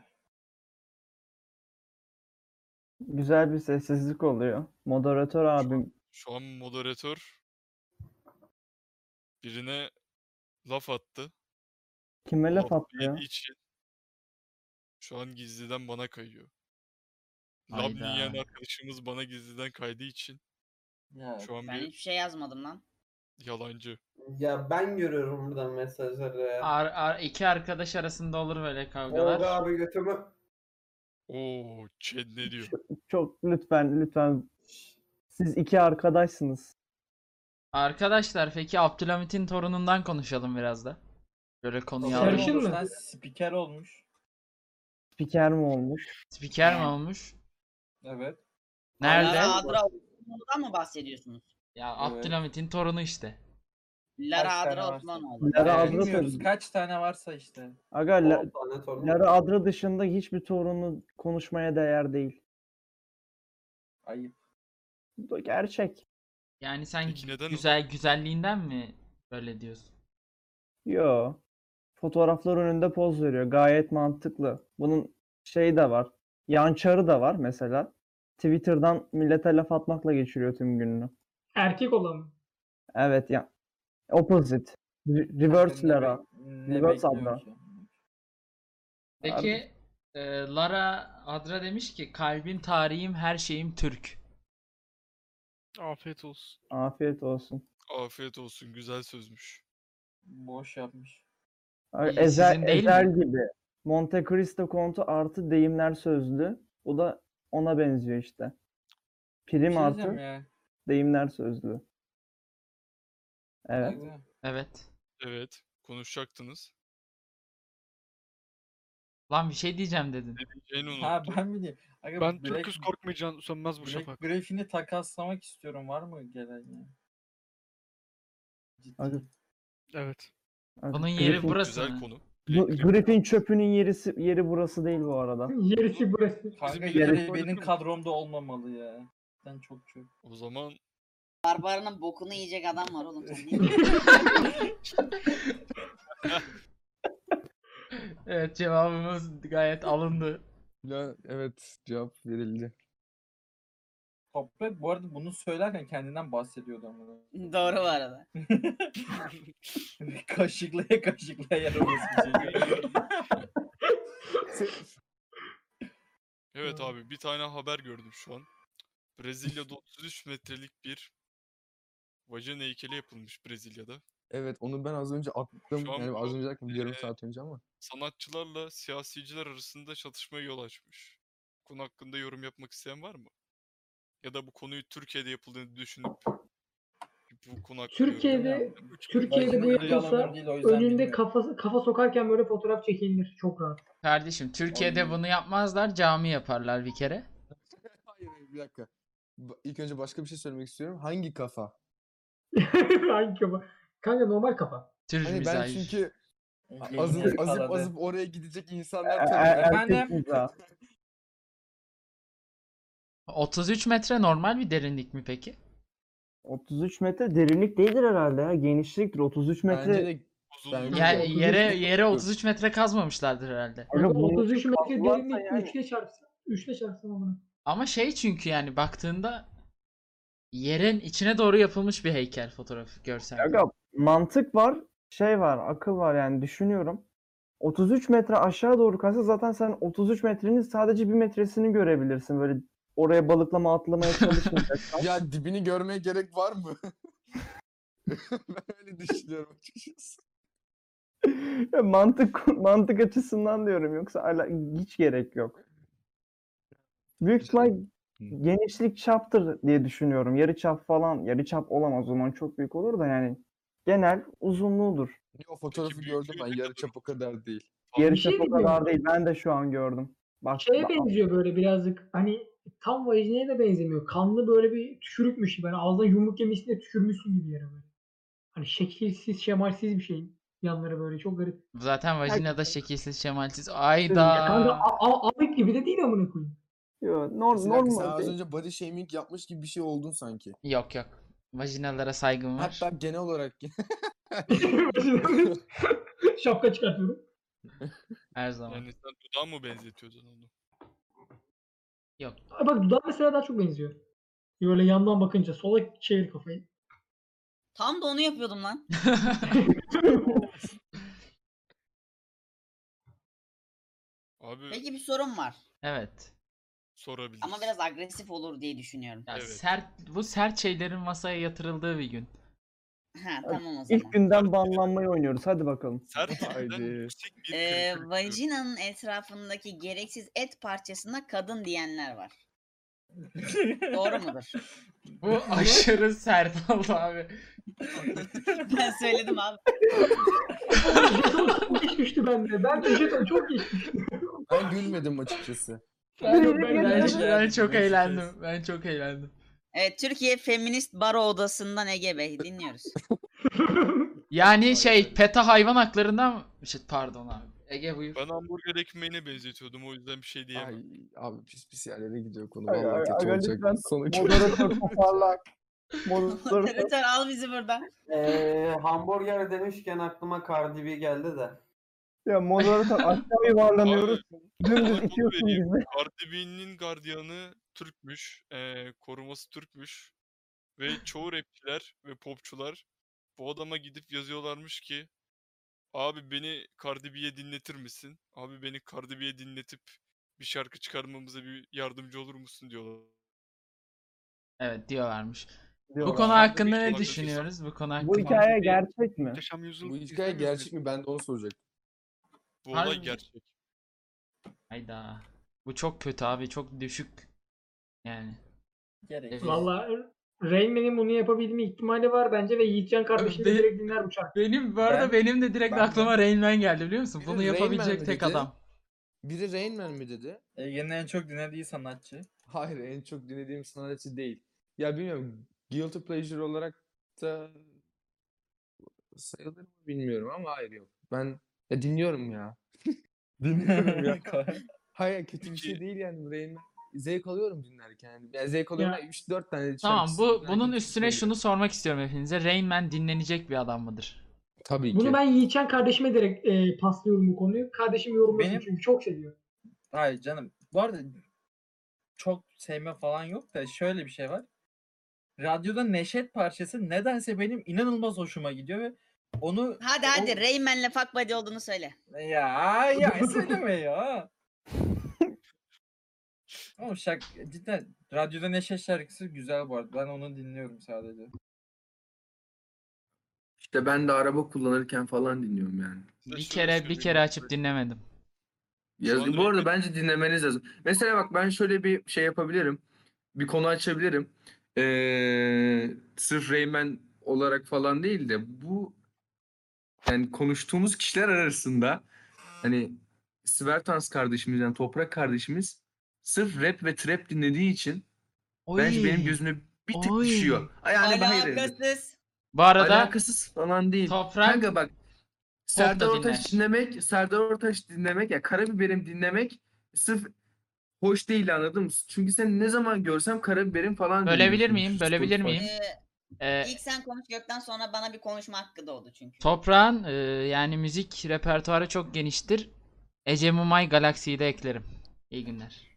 S1: Güzel bir sessizlik oluyor. Moderatör abim
S2: Şu an moderatör birine laf attı.
S1: kime laf
S2: Laf
S1: attı ya?
S2: yediği için şu an gizliden bana kayıyor. Lab
S7: Hayda.
S2: yiyen arkadaşımız bana gizliden kaydığı için
S4: Ya,
S2: şu an
S9: Ben
S2: bir
S9: hiçbir şey yazmadım lan.
S2: yalancı.
S3: Ya ben görüyorum buradan mesajları. ya.
S7: Ar, ar, iki arkadaş arasında olur böyle
S3: Olga
S7: kavgalar.
S3: abi götümü
S2: Oo, Chad ne diyor?
S1: Çok lütfen lütfen siz iki arkadaşsınız.
S7: Arkadaşlar peki Abdülhamit'in torunundan konuşalım biraz da. Böyle konuyu
S4: Spiker
S8: Sarışın
S7: alalım.
S4: Şey olmuş
S8: mı?
S4: lan, Spiker olmuş.
S1: Spiker mi olmuş?
S7: Spiker mi olmuş?
S4: Evet.
S7: Nerede?
S9: Lara Adra Osmanoğlu'dan mı bahsediyorsunuz?
S7: Ya
S4: Evet.
S7: Abdülhamit'in torunu işte.
S9: Lara
S4: Kaç tane
S9: Adra
S4: varsa.
S9: Osmanoğlu.
S1: Lara
S4: Yani
S1: Adra,
S4: bilmiyoruz
S1: torunu.
S4: kaç tane varsa işte.
S1: Ee, Aga, La-
S3: 10 tane torun.
S1: Lara Adra dışında hiçbir torunu konuşmaya değer değil.
S4: Ayıp.
S1: Bu da gerçek.
S7: Yani sen
S2: Peki neden o?
S7: güzel güzelliğinden mi böyle diyorsun?
S1: Yo. Fotoğraflar önünde poz veriyor. Gayet mantıklı. Bunun şeyi de var. Yançarı da var mesela. Twitter'dan millete laf atmakla geçiriyor tüm gününü.
S8: Erkek olan mı?
S1: Evet ya. Opposite. Re- Reverse
S4: Ne
S1: Lara.
S4: bek- ne
S1: Reverse
S4: bekliyor
S1: Adra.
S4: ki?
S7: Peki e, Lara Adra demiş ki kalbim tarihim her şeyim Türk.
S6: Afiyet olsun.
S1: Afiyet olsun.
S2: Afiyet olsun, güzel sözmüş.
S4: Boş yapmış.
S1: Ay,
S7: İyi,
S1: Ezel,
S7: sizin değil mi?
S1: Ezel gibi. Monte Cristo kontu artı deyimler sözlü. Bu da ona benziyor işte.
S4: Bir şey
S1: Prim
S4: diyeceğim
S1: artı
S4: ya.
S1: deyimler sözlü. Evet.
S4: Kanka,
S7: Evet.
S2: Evet, konuşacaktınız.
S7: Lan bir şey diyeceğim dedin.
S2: Yeni unuttum.
S4: Ha ben mi diyeyim? Aga,
S6: Ben
S4: Black-
S6: Türküz korkmayacaksın sönmez bu
S4: Black
S6: şafak.
S4: Griffin'i takaslamak istiyorum. Var mı gelen ya? Ciddi.
S1: Aga,
S6: Evet.
S7: Bunun
S1: Griffin-
S7: yeri burası
S2: Güzel
S7: mı?
S2: konu.
S1: Bu-
S2: Black
S1: Griffin çöpünün yerisi, yeri burası değil bu arada.
S8: Yerisi burası.
S4: Kanka
S2: bizim
S4: yine
S2: yarışma
S4: benim
S2: oyunu-
S4: kadromda olmamalı ya. Ben çok çok.
S2: O zaman
S9: Barbaranın bokunu yiyecek adam var oğlum. Sen ne diyorsun?
S7: Evet cevabımız gayet alındı.
S10: Ya evet cevap verildi.
S4: Toprak bu arada bunu söylerken kendinden bahsediyordu ama.
S9: Doğru bu arada.
S4: kaşıklaya kaşıklaya yaramaz bir şey.
S2: Evet abi bir tane haber gördüm şu an. Brezilya'da 33 metrelik bir vajina heykeli yapılmış Brezilya'da.
S5: Evet onu ben az önce attım.
S2: an
S5: Yani az
S2: bu, Ee,
S5: önce derken bir yarım
S2: eee,
S5: saat önce ama.
S2: Sanatçılarla siyasiciler arasında çatışmaya yol açmış. Konu hakkında yorum yapmak isteyen var mı? Ya da bu konuyu Türkiye'de yapıldığını düşünüp bu konu hakkında yorum
S8: Türkiye'de
S2: yapan- Üç kişi-
S8: Türkiye'de bu yapılsa önünde kafa, kafa sokarken böyle fotoğraf çekilir çok rahat.
S7: Kardeşim Türkiye'de bunu yapmazlar cami yaparlar bir kere.
S5: Hayır, bir dakika. Ba- İlk önce başka bir şey söylemek istiyorum. Hangi kafa?
S8: Hangi kafa? Kanka normal kafa.
S7: Türk
S5: Hani ben
S7: mizahi.
S5: çünkü
S6: Yeni
S5: azıp azıp
S6: yakaladı.
S5: azıp oraya gidecek
S1: E-
S5: insanlar
S1: e-
S5: tanıyorum.
S1: erkek
S6: Efendim?
S1: mizahı.
S7: 33 metre normal bir derinlik mi peki?
S1: 33 metre derinlik değildir herhalde ya. Genişliktir. 33 metre.
S5: Bence de bence
S7: Ya,
S5: de otuz üç
S7: yere
S5: metre
S7: yere
S5: yok.
S7: 33 metre kazmamışlardır herhalde.
S1: Aga bunun
S8: 33 metre
S1: fazla varsa
S8: derinlik
S1: yani.
S8: 3'te çarpsın. 3'te çarpsın onu.
S7: Ama şey çünkü yani baktığında yerin içine doğru yapılmış bir heykel fotoğrafı görsel.
S1: Aga mantık var, şey var, akıl var yani düşünüyorum. 33 metre aşağı doğru kaysa zaten sen 33 metrenin sadece bir metresini görebilirsin. Böyle oraya balıklama atlamaya çalışmayacaksın.
S5: Ya dibini görmeye gerek var mı? ben öyle düşünüyorum açıkçası.
S1: Ya mantık mantık açısından diyorum yoksa ala, hiç gerek yok. Büyük ihtimal genişlik çaptır diye düşünüyorum. Yarı çap falan, yarı çap olamaz o zaman çok büyük olur da yani genel uzunluğudur.
S5: O fotoğrafı gördüm ben yarı çap o kadar değil.
S1: Yarı
S8: şey
S1: çap o
S8: diyeceğim.
S1: kadar değil. Ben de şu an gördüm. Bak,
S8: Şeye benziyor böyle birazcık hani tam vajineye de benzemiyor. Kanlı böyle bir tükürükmüş gibi. Hani ağzına yumruk yemişsin de tükürmüşsün gibi yere böyle. Hani şekilsiz, şemalsiz bir şeyin yanları böyle çok garip.
S7: Zaten vajinada şekilsiz şemalsiz.
S8: Ya kanka
S7: Ayda.
S8: a- a- amik gibi de değil amına koyayım.
S1: Yo,
S5: Kesin dakika, sen
S1: normal.
S5: az
S1: değil.
S5: önce body shaming yapmış gibi bir şey oldun sanki.
S7: Yok yok. Vajinalara saygım var.
S5: Hatta genel olarak
S8: Şapka çıkartıyorum.
S7: Her zaman.
S2: Yani sen dudağı mı benzetiyordun onu?
S7: Yok.
S8: Ay Bak dudağı mesela daha çok benziyor. Böyle yandan bakınca sola çevir kafayı.
S9: Tam da onu yapıyordum lan.
S2: Abi
S9: Peki bir sorum var.
S7: Evet.
S2: sorabilirsin.
S9: Ama biraz agresif olur diye düşünüyorum.
S7: Ya
S2: Evet.
S7: sert bu sert şeylerin masaya yatırıldığı bir gün.
S9: Ha tamam o
S1: İlk
S9: zaman.
S1: günden banlanmayı oynuyoruz. Hadi bakalım.
S2: Sertliğinden
S5: Haydi.
S2: yüksek bir
S9: Ee,
S2: kırıklık diyorum.
S9: vajinanın etrafındaki gereksiz et parçasına kadın diyenler var. Doğru mudur?
S7: Bu aşırı sert oldu abi.
S9: Ben söyledim abi.
S8: Jeton çok geçmişti bende. Ben de jeton çok geçmişti.
S5: ben gülmedim açıkçası.
S7: Ben, ben-
S5: Eğlendim,
S7: ben çok
S5: ben
S7: eğlendim. Ben çok eğlendim.
S9: Evet Türkiye Feminist Baro Odası'ndan Ege Bey dinliyoruz.
S7: Yani şey PETA hayvan haklarından Şey, pardon abi. Ege buyur.
S2: Ben hamburger ekmeğine benzetiyordum o yüzden bir şey diyemem.
S5: Ay abi pis pis yerlere gidiyor konu.
S1: Ay, ay,
S5: Vallahi kötü
S1: aga
S5: olacak.
S1: lütfen
S5: Sonu kötü.
S1: Moderatör toparlak. Moderatör
S9: Moderatör al bizi buradan.
S3: Ee, hamburger demişken aklıma Cardi B geldi de.
S1: ya moderatör aşağı yuvarlanıyoruz. Dümdüz itiyorsun bizi.
S2: Cardi B'nin gardiyanı Türkmüş. ee, koruması Türkmüş. Ve çoğu rapçiler ve popçular bu adama gidip yazıyorlarmış ki Abi beni Cardi B'ye dinletir misin? Abi beni Cardi B'ye dinletip bir şarkı çıkarmamıza bir yardımcı olur musun diyorlar.
S7: Evet diyorlarmış. Bu
S1: diyorlar.
S7: konu
S2: Sen de
S7: hakkında
S2: bir
S7: ne
S2: kulak
S7: düşünüyoruz? Bu konu hakkında.
S1: Bu hikaye gerçek mi?
S11: Muhteşem Yüzyıl
S5: Bu hikaye
S11: izlemedim.
S5: gerçek mi? Ben de onu soracaktım.
S2: Bu olay
S7: Harbi.
S2: gerçek.
S7: Hayda. Bu çok kötü abi. Çok düşük. Yani.
S6: Gerek.
S8: Valla Rayman'in bunu yapabilme ihtimali var bence ve Yiğitcan kardeşim de
S7: Abi,
S8: direkt dinler bu şarkıyı.
S7: Benim bu
S5: Ben-
S7: arada benim de direkt
S5: ben-
S7: aklıma Rain Man geldi biliyor musun?
S5: Bir de
S7: Bunu
S5: Rain Man
S7: yapabilecek
S5: mi
S7: tek
S5: dedi?
S7: adam.
S5: Biri Rain Man mi dedi?
S6: Ege'nin E, en çok dinlediği sanatçı.
S5: Hayır en çok dinlediğim sanatçı değil. Ya bilmiyorum. Guilty Pleasure olarak da sayılır mı bilmiyorum ama hayır yok. Ben ya dinliyorum ya. dinliyorum ya. Hayır kötü bir şey
S2: Peki.
S5: değil yani Rain Man. Zevk alıyorum dinlerken. Yani Ben zevk alıyorum.
S8: Ya.
S5: 3-4 tane
S7: Tamam
S5: şarkısı
S7: bu
S5: dinlerken
S7: bunun
S5: çok
S7: üstüne
S5: seviyorum.
S7: şunu sormak istiyorum hepinize. Rain Man dinlenecek bir adam mıdır?
S5: Tabii ki.
S8: Bunu ben Yiğitcan kardeşime direkt e, paslıyorum bu konuyu. Kardeşim yorumlasın
S6: Benim-
S8: çünkü çok seviyor.
S6: Hayır canım. Bu arada çok sevme falan yok da şöyle bir şey var. Radyoda Neşet parçası nedense benim inanılmaz hoşuma gidiyor ve onu
S9: Hadi
S6: o-
S9: hadi Rayman'le fuck buddy olduğunu söyle.
S6: Ya ya söyleme ya. Ama şak cidden radyoda Neşe şarkısı güzel bu arada. Ben onu dinliyorum sadece.
S5: İşte ben de araba kullanırken falan dinliyorum yani.
S7: Bir şey kere bir kere açıp dinlemedim.
S5: Yaz- bu arada bence dinlemeniz lazım. Mesela bak ben şöyle bir şey yapabilirim. Bir konu açabilirim. Ee, sırf Reymen olarak falan değil de bu yani konuştuğumuz kişiler arasında hani Svertans kardeşimiz yani Toprak kardeşimiz sırf rap ve trap dinlediği için bence benim
S7: Oy.
S5: gözüme bir tık düşüyor. Yani hayır.
S9: Alakasız.
S7: Bu arada
S5: alakasız falan değil.
S7: Toprak
S5: Kanka bak
S7: da
S5: Serdar Ortaç
S7: dinler.
S5: dinlemek, Serdar Ortaç dinlemek ya Karabiberim dinlemek sırf hoş değil anladın mı? Çünkü sen ne zaman görsem Karabiberim falan
S7: Bölebilir
S5: dinliyorsun
S7: miyim? Bölebilir
S5: Spotify.
S7: miyim? Ee,
S9: İlk sen konuş Gökten sonra bana bir konuşma hakkı doğdu çünkü.
S7: Toprağın e, yani müzik repertuarı çok geniştir. Ece Mumay Galaxy'yi de eklerim. İyi günler.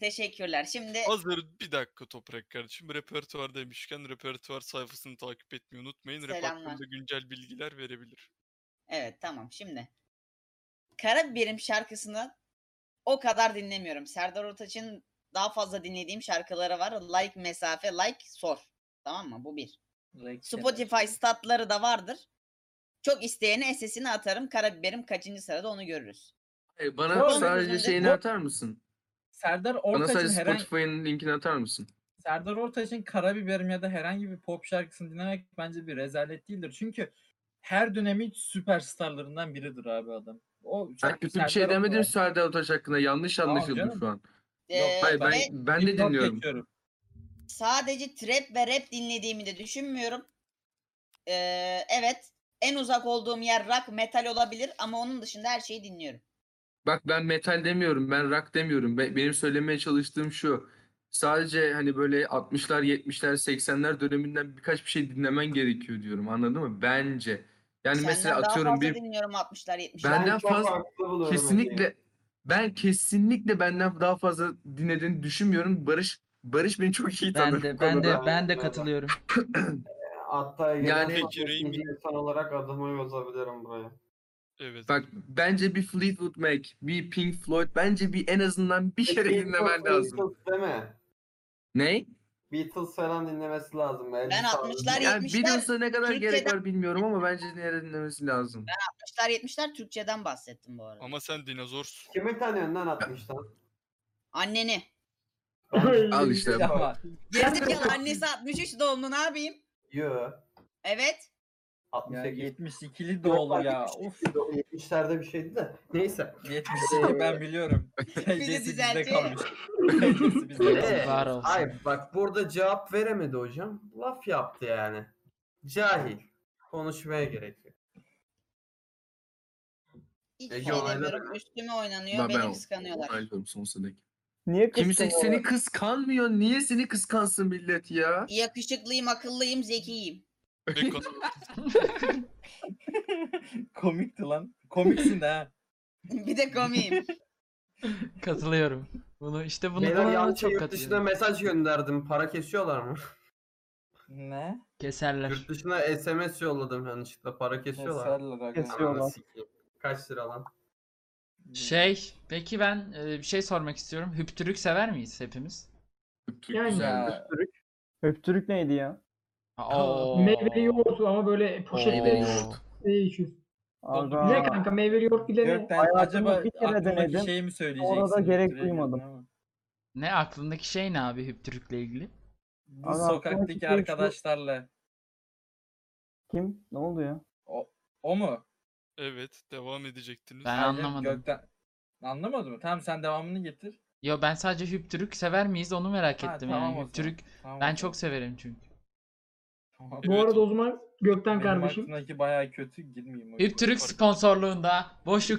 S9: Teşekkürler. Şimdi
S2: Hazır bir dakika Toprak kardeşim. Repertuar demişken repertuar sayfasını takip etmeyi unutmayın. Rap
S9: Selamlar.
S2: hakkında güncel bilgiler verebilir.
S9: evet tamam şimdi. Karabiberim şarkısını o kadar dinlemiyorum. Serdar Ortaç'ın daha fazla dinlediğim şarkıları var. Like mesafe, like sor. Tamam mı? Bu bir. Spotify statları da vardır. Çok isteyene SS'ini atarım. Karabiberim kaçıncı sırada onu görürüz.
S5: Ee, Bana
S9: Bu-
S5: sadece şeyini
S9: Bu-
S5: atar mısın?
S4: Serdar
S5: Bana
S4: Ortaç'ın
S5: sadece
S4: herhangi
S5: Spotify'ın linkini atar mısın?
S4: Serdar Ortaç'ın Karabiberim ya da herhangi bir pop şarkısını dinlemek bence bir rezalet değildir. Çünkü her dönemin süperstarlarından biridir abi adam. O
S5: Ben
S4: şarkı
S5: kötü bir şey
S4: Serdar Ortaç.
S5: demedim Serdar Ortaç hakkında. Yanlış
S4: Tamam
S5: anlaşıldım
S4: canım.
S5: şu an.
S9: Ee,
S5: Hayır ben,
S9: ve
S5: ben de
S4: Dipnot
S5: dinliyorum.
S4: geçiyorum.
S9: sadece trap ve rap dinlediğimi de düşünmüyorum. Ee, evet. En uzak olduğum yer rock, metal olabilir ama onun dışında her şeyi dinliyorum.
S5: Bak ben metal demiyorum, ben rock demiyorum. Be- benim söylemeye çalıştığım şu. Sadece hani böyle 60'lar, 70'ler, 80'ler döneminden birkaç bir şey dinlemen gerekiyor diyorum. Anladın mı? Bence. Yani
S9: Senden
S5: mesela
S9: daha
S5: atıyorum
S9: fazla
S5: bir
S9: dinliyorum 60'lar 70'ler.
S5: benden
S3: çok
S5: fazla
S3: haklı buluyorum Ege'yi.
S5: kesinlikle ben kesinlikle benden daha fazla dinlediğini düşünmüyorum. Barış Barış beni çok iyi tanır bu
S7: Ben de ben de
S5: konuda.
S7: ben de katılıyorum.
S3: Hatta
S5: Yani-
S3: yani
S2: Peki, Raimi-
S3: insan olarak adımı yazabilirim buraya.
S2: Evet.
S5: Bak bence bir Fleetwood Mac, bir Pink Floyd bence bir en azından bir kere
S3: Beatles,
S5: dinlemen lazım.
S3: Beatles deme.
S5: Ney?
S3: Beatles falan dinlemesi lazım.
S9: Ben 60'lar
S5: Yani
S9: 70'ler
S5: Beatles'a ne kadar gerek
S9: Türkiye'den-
S5: var bilmiyorum ama bence yine dinlemesi lazım.
S9: 60'lar 70'ler Türkçeden bahsettim bu arada.
S2: Ama sen dinozorsun.
S3: Kimi tanıyorsun lan 60'tan?
S9: Anneni.
S5: Al işte.
S4: Ama
S9: Gerizekalı annesi 63 doğumlu ne yapayım?
S3: Yo.
S9: Evet.
S4: ya
S3: 68.
S4: 72'li doğulu ya. Uf
S3: 70'lerde bir şeydi de. Neyse.
S4: 72 ben biliyorum. Teyzesi bizde
S9: düzeltiyor.
S4: kalmış. Teyzesi bizde kalmış.
S3: Evet.
S7: Var olsun.
S3: Ee, Hayır bak burada cevap veremedi hocam. Laf yaptı yani. Cahil. Konuşmaya gerek yok.
S9: Hiç
S3: Ege
S9: şey
S3: olayları-
S9: demiyorum. Üstüme oynanıyor.
S5: Ben- ben
S9: Beni
S5: o-
S9: kıskanıyorlar.
S5: Ayrılıyorum son sendeki.
S1: Niye
S5: Kimse
S1: kızdın
S5: seni kıskanmıyor. Niye seni kıskansın millet ya?
S9: Yakışıklıyım, akıllıyım, zekiyim.
S2: Ve kanal-
S4: Komikti lan. Komiksin de ha.
S9: bir de komiyim.
S7: Katılıyorum. Bunu işte bunu
S3: Beyler
S7: buna
S3: yanlış
S7: çok
S3: yurt dışına
S7: katılıyorum.
S3: mesaj gönderdim. Para kesiyorlar mı?
S4: Ne?
S7: Keserler.
S3: Yurt dışına SMS yolladım yanlışlıkla. Para kesiyorlar.
S4: Keserler aga.
S1: Kesiyor.
S3: Ananı
S1: Kesiyorlar.
S3: sikeyim. Kaç lira lan?
S7: Şey, peki ben e, bir şey sormak istiyorum. Hüptürük sever miyiz hepimiz?
S5: Türk
S8: Yani-
S5: güzeldir.
S4: Ya,
S1: Öptürük neydi ya?
S7: Oo.
S4: hani-
S8: Meyveli yoğurt ama böyle poşetleri
S7: Oo.
S8: içiyorsun.
S1: Aga.
S8: Ne kanka meyveli yoğurt bir de ne?
S4: Gökten
S1: Hayatımda
S4: acaba
S1: bir kere
S4: aklındaki
S1: denedim.
S7: şey
S4: şeyi mi söyleyeceksin?
S1: Orada gerek
S4: Direkt
S1: duymadım.
S4: ama.
S7: Ne aklındaki şey ne abi hüptürükle ilgili?
S4: Bu
S1: Abi aklıma bir
S4: sokaktaki
S1: şey şu-
S4: arkadaşlarla.
S1: Kim? Ne oldu ya?
S4: O mu?
S2: evet devam edecektiniz.
S7: Ben
S4: Hayır,
S7: anlamadım.
S4: Gökten... Anlamadın mı? Tamam sen devamını getir.
S7: Yo ben sadece hüptürük sever miyiz onu merak
S4: Ha,
S7: ettim
S4: tamam o
S7: yani.
S4: zaman.
S7: Hüptürük
S4: Tamam,
S7: ben
S4: o
S7: çok severim çünkü.
S4: zaman.
S8: Bu
S2: Evet.
S8: arada o zaman Gökten
S4: Benim
S8: kardeşim.
S4: aklımdaki bayağı kötü girmeyeyim. o yüzden.
S7: Hüptürük sponsorluğunda boşu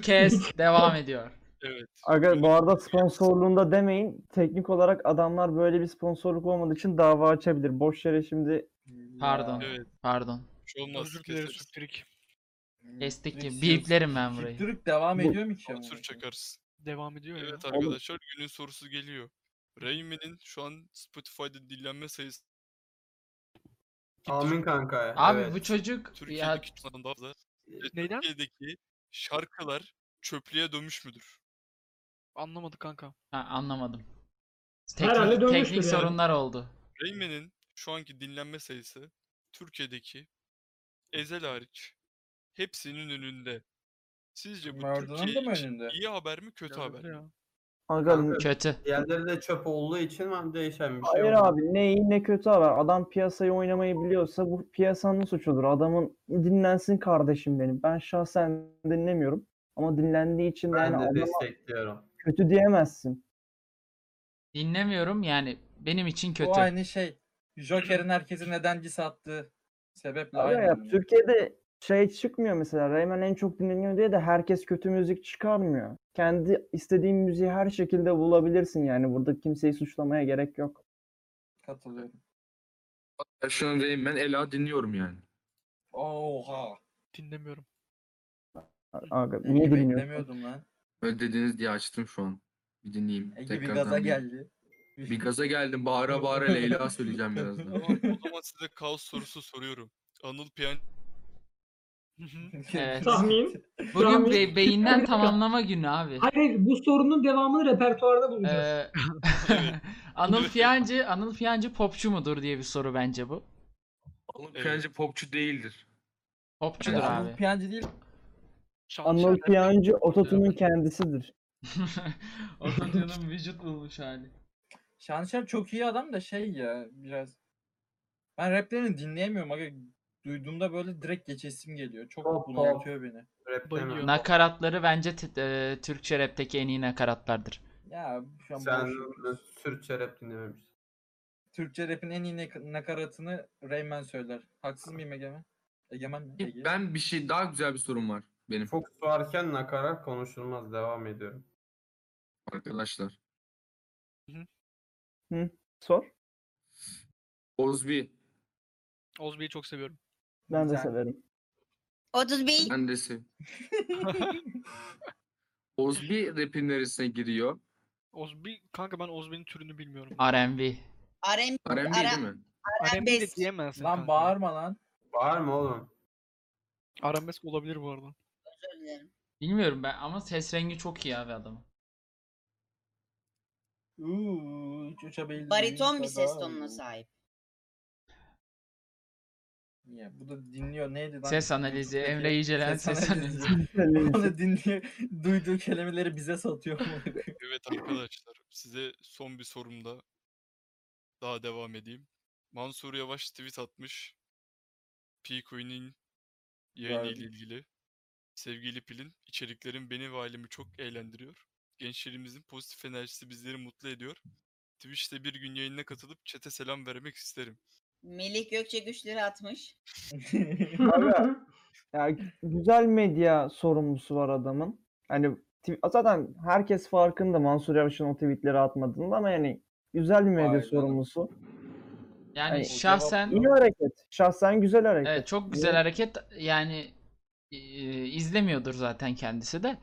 S7: kes devam ediyor.
S2: Evet.
S1: Aga bu arada sponsorluğunda demeyin. Teknik olarak adamlar böyle bir sponsorluk olmadığı için dava açabilir. Boş yere şimdi
S4: Ya,
S7: Pardon.
S2: Evet.
S7: Pardon.
S2: Hiç şey olmaz.
S6: Özür dileriz
S2: keseriz.
S6: Sütürük.
S7: Kestik ki.
S4: Hüptürük-
S7: Biplerim ben burayı.
S4: Hüptürük devam ediyor mu
S6: Şey
S4: ki? ama?
S2: Sansür çakarız.
S6: Devam ediyor ya.
S2: Evet arkadaşlar günün sorusu geliyor. Rayman'in şu an Spotify'da dinlenme sayısı
S3: Amin kanka.
S7: Abi
S3: evet.
S7: bu çocuk ya
S2: Türkiye'deki çoğundan daha fazla. Ve
S6: Neyden?
S2: Türkiye'deki şarkılar çöplüğe dönmüş müdür?
S6: Anlamadı kanka.
S7: ha, anlamadım.
S8: Herhalde
S7: Teknik,
S8: dönmüştür
S7: teknik
S8: yani.
S7: sorunlar oldu.
S2: Rayman'in şu anki dinlenme sayısı Türkiye'deki Ezel hariç hepsinin önünde. Sizce bu
S4: Mardin'in de
S2: Türkiye
S4: mi
S2: için
S4: önünde?
S2: iyi haber mi kötü haber mi?
S1: Aga,
S7: Kötü.
S3: Diğerleri de çöp olduğu için ben değişen bir şey
S1: Hayır
S3: olmaz.
S1: abi ne iyi ne kötü arar. Adam piyasayı oynamayı biliyorsa bu piyasanın suçudur. Adamın dinlensin kardeşim benim. Ben şahsen dinlemiyorum. Ama dinlendiği için de
S3: Ben
S1: yani
S3: de
S1: adama
S3: destekliyorum.
S1: kötü diyemezsin.
S7: Dinlemiyorum yani benim için kötü.
S4: O aynı şey. Joker'in herkesi nedenci sattığı sebeple
S1: Ama
S4: aynı.
S1: ya,
S4: ürün.
S1: Türkiye'de şey çıkmıyor mesela. Rayman en çok dinleniyor diye de herkes kötü müzik çıkarmıyor. Kendi istediğin müziği her şekilde bulabilirsin yani. Burada kimseyi suçlamaya gerek yok.
S4: Katılıyorum.
S5: Ben şu an Rayman Ela dinliyorum yani.
S4: Oha.
S6: Dinlemiyorum.
S1: Aga,
S4: İyi
S1: niye dinliyorsun?
S4: Beklemiyordum lan.
S5: Öyle dediniz diye açtım şu an. Bir dinleyeyim.
S4: Ege bir
S5: tekrardan
S4: gaza
S5: bir-
S4: geldi.
S5: Bir gaza geldim. Bağıra bağıra Leyla söyleyeceğim birazdan.
S2: Tamam, o zaman size kaos sorusu soruyorum. Anıl Piyan
S7: Evet.
S8: Tahmin.
S7: Bugün
S8: Tahmin.
S7: be- beyinden tamamlama günü abi.
S8: Hayır, hayır, bu sorunun devamını repertuarda bulacağız.
S7: Ee, Anıl Fiyancı, Anıl Fiyancı popçu mudur diye bir soru bence bu.
S5: Oğlum
S2: Evet.
S5: Piyancı popçu değildir.
S7: Popçudur
S4: Anıl
S7: abi.
S4: Piyancı değil.
S1: Anıl Piyancı ototunun kendisidir.
S7: Ototune'un vücut bulmuş hali.
S4: Şanışer çok iyi adam da şey ya biraz. Ben raplerini dinleyemiyorum. Aga. Duyduğumda böyle direkt geçesim geliyor.
S3: Hop,
S4: Çok bunaltıyor beni.
S3: Repleme.
S6: Bayılıyor.
S7: Nakaratları bence t- e, Türkçe rapteki en iyi nakaratlardır.
S4: Ya şu an
S3: Sen
S4: boş.
S3: Türkçe rap dinlememişsin.
S4: Türkçe rapin en iyi nak- nakaratını Rayman söyler. Haksız mıyım Egemen? Egemen mi? Ege.
S5: Ben bir şey daha güzel bir sorum var benim
S3: Çok suarken nakarat konuşulmaz. Devam ediyorum.
S5: arkadaşlar.
S1: Sor.
S5: Ozbi
S6: Ozbi'yi çok seviyorum.
S1: Ben de
S4: Güzel.
S1: severim.
S9: 31.
S5: ben de sev- Ozbi rapin neresine giriyor?
S6: Ozbi kanka ben Ozbi'nin türünü bilmiyorum.
S7: R&B.
S9: RM,
S5: R&B
S9: Ara-
S5: değil mi?
S6: Arabesk de
S9: arabesk.
S6: diyemezsin
S4: Lan
S6: kanka.
S4: bağırma lan.
S3: Bağırma oğlum.
S6: Arabesk olabilir bu arada.
S9: Özür dilerim.
S7: Bilmiyorum ben ama ses rengi çok iyi abi adamın.
S4: Uuu, hiç uçabildiğim
S9: Bariton bir ses
S4: kadar.
S9: tonuna sahip.
S4: Ya bu da dinliyor neydi lan?
S7: Ses analizi,
S4: YouTube'daki
S7: Emre İyicelen ses analizi.
S4: Bu da dinliyor. Duyduğu kelimeleri bize satıyor. amına koyayım.
S2: Evet arkadaşlar size son bir sorumda daha devam edeyim. Mansur Yavaş tweet atmış. P Queen'in yayını ile
S4: Gördüm.
S2: ilgili. Sevgili Pil'in içeriklerin beni ve ailemi çok eğlendiriyor. Gençlerimizin pozitif enerjisi bizleri mutlu ediyor. Twitch'te bir gün yayına katılıp çete selam vermek isterim.
S9: Melih Gökçe güçleri atmış.
S1: Aga, ya güzel medya sorumlusu var adamın. Hani tw- zaten herkes farkında Mansur Yavaş'ın o tweetleri atmadığında ama yani güzel bir medya
S4: Aynen.
S1: sorumlusu.
S7: Yani
S1: Ay,
S7: şahsen
S1: İyi hareket. Şahsen güzel hareket.
S7: evet, çok güzel
S1: Niye-
S7: hareket yani e, izlemiyordur zaten kendisi de.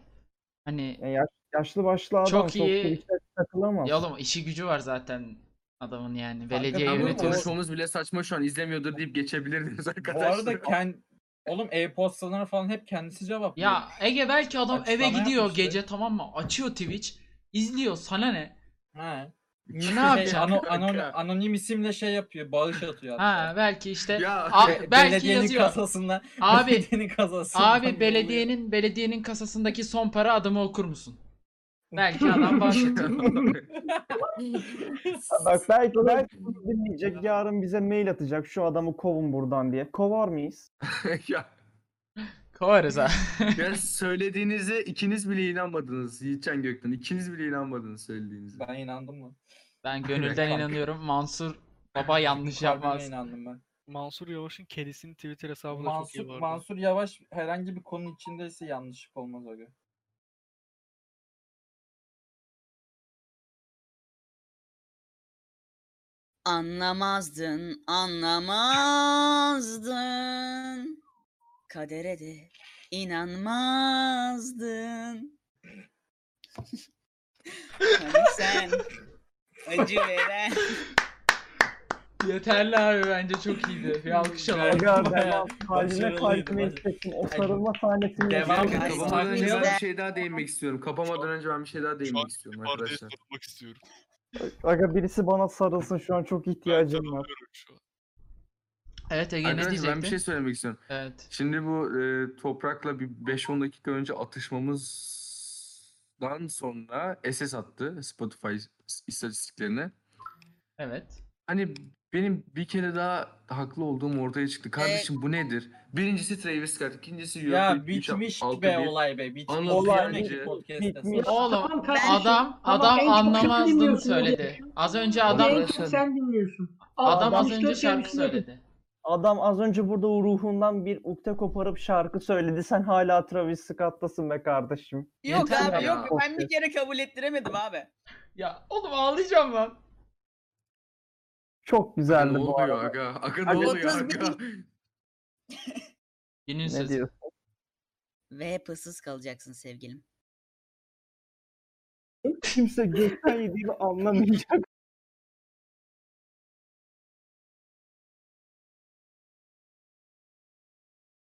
S7: Hani
S1: Yani yaş- yaşlı başlı adam
S7: Çok
S1: çok,
S7: iyi.
S1: Twitch'te takılamaz.
S7: ya oğlum işi gücü var zaten adamın yani belediye
S4: ben bunu
S5: Bunu
S7: yönetiyor.
S5: konuşmamız bile saçma şu an izlemiyordur deyip geçebilirdiniz
S4: Bu
S5: arkadaşlar.
S4: arada kend... Oğlum e-postalarına falan hep kendisi cevap
S7: Ya Ege belki adam
S4: Açıklama
S7: eve gidiyor
S4: yapmıştı.
S7: gece tamam mı? Açıyor Twitch, izliyor sana ne?
S4: Ha.
S7: Ne
S4: Şey,
S7: yapacaksın?
S4: ano-
S5: kanka?
S4: anon- anonim isimle şey yapıyor. Bağış atıyor.
S7: Ha belki işte
S5: Ya
S7: a-
S4: Be-
S7: belki
S4: belediyenin
S7: yazıyor.
S4: kasasından.
S7: Abi
S4: belediyenin kasasından
S7: abi
S4: yolluyor.
S7: belediyenin belediyenin kasasındaki son para adımı okur musun? Belki adam başlatıyor.
S1: Bak belki belki bunu dinleyecek yarın bize mail atacak şu adamı kovun buradan diye. Kovar mıyız?
S5: ya,
S7: Kovarız ha.
S5: ya söylediğinize ikiniz bile inanmadınız Yiğitcan Gökten. İkiniz bile inanmadınız söylediğinize.
S4: Ben inandım mı?
S7: Ben gönülden
S5: Kanka.
S7: inanıyorum. Mansur baba yanlış
S4: Kalbime
S7: yapmaz.
S4: inandım ben.
S6: Mansur Yavaş'ın kedisinin Twitter hesabı da çok
S4: Mansur,
S6: iyi bu arada.
S4: Mansur Yavaş herhangi bir konu içindeyse yanlışlık olmaz aga.
S9: Anlamazdın, anlamazdın. Kadere de inanmazdın. hani sen acı veren.
S7: Yeterli abi bence çok iyiydi. Bir alkış alalım.
S1: Aga ben
S4: Bayağı
S1: kalbime
S4: başarılıydı,
S1: kalbime
S4: bayağı.
S1: hissettim. O sarılma sahnesini
S4: Devam
S1: yaşadım.
S5: Kanka,
S9: Ay,
S5: Kapamadan önce
S9: çok
S5: ben
S9: güzel.
S5: bir şey daha değinmek istiyorum. Kapamadan önce ben bir şey daha değinmek istiyorum
S2: Arda'ya
S5: arkadaşlar.
S2: sormak istiyorum.
S1: Aga birisi bana sarılsın şu an çok
S2: Ben
S1: ihtiyacım var.
S2: sarılıyorum şu an.
S7: Evet Ege ne
S5: Arkadaşlar
S7: diyecektin?
S5: ben bir şey söylemek istiyorum.
S7: Evet.
S5: Şimdi bu e, Toprak'la bir 5-10 dakika önce atışmamızdan sonra SS attı Spotify istatistiklerine.
S7: Evet.
S5: Hani benim bir kere daha haklı olduğum ortaya çıktı. Kardeşim bu nedir? Birincisi Travis Scott, ikincisi
S4: Ya
S5: UFC 3
S4: bitmiş
S5: altı
S4: be
S5: bir.
S4: olay be, bitmiş.
S5: Anıl
S4: Olay
S5: Piyancı.
S4: bitmiş, podcast'te.
S8: Bitmiş.
S7: Oğlum
S8: Tamam kardeşim,
S7: adam
S8: tamam,
S7: adam
S8: en çok sen
S7: anlamazdın
S8: dinliyorsun
S7: söyledi.
S8: Ege.
S7: Az önce
S8: Adam
S7: adam
S8: en çok sen dinliyorsun. Aa,
S7: adam az önce
S8: 64
S7: şarkı
S8: yarışında bir- şey
S7: söyledi.
S1: Adam az önce burada ruhundan bir ukde koparıp şarkı söyledi. Sen hala Travis Scott'tasın be kardeşim.
S9: Yok
S7: Yeter
S9: abi
S5: ya.
S9: yok. Ben bir kere kabul ettiremedim abi.
S7: Ya oğlum ağlayacağım lan.
S1: Çok
S5: Ne
S1: güzeldi bu
S5: oluyor
S1: arada.
S5: aga? Aga
S1: Aga,
S5: ne oluyor
S9: 31
S5: aga?
S7: Günün
S1: Ne
S7: sözü.
S1: diyorsun?
S9: Ve hep ıssız kalacaksın sevgilim.
S1: Kimse gökten yediğini anlamayacak.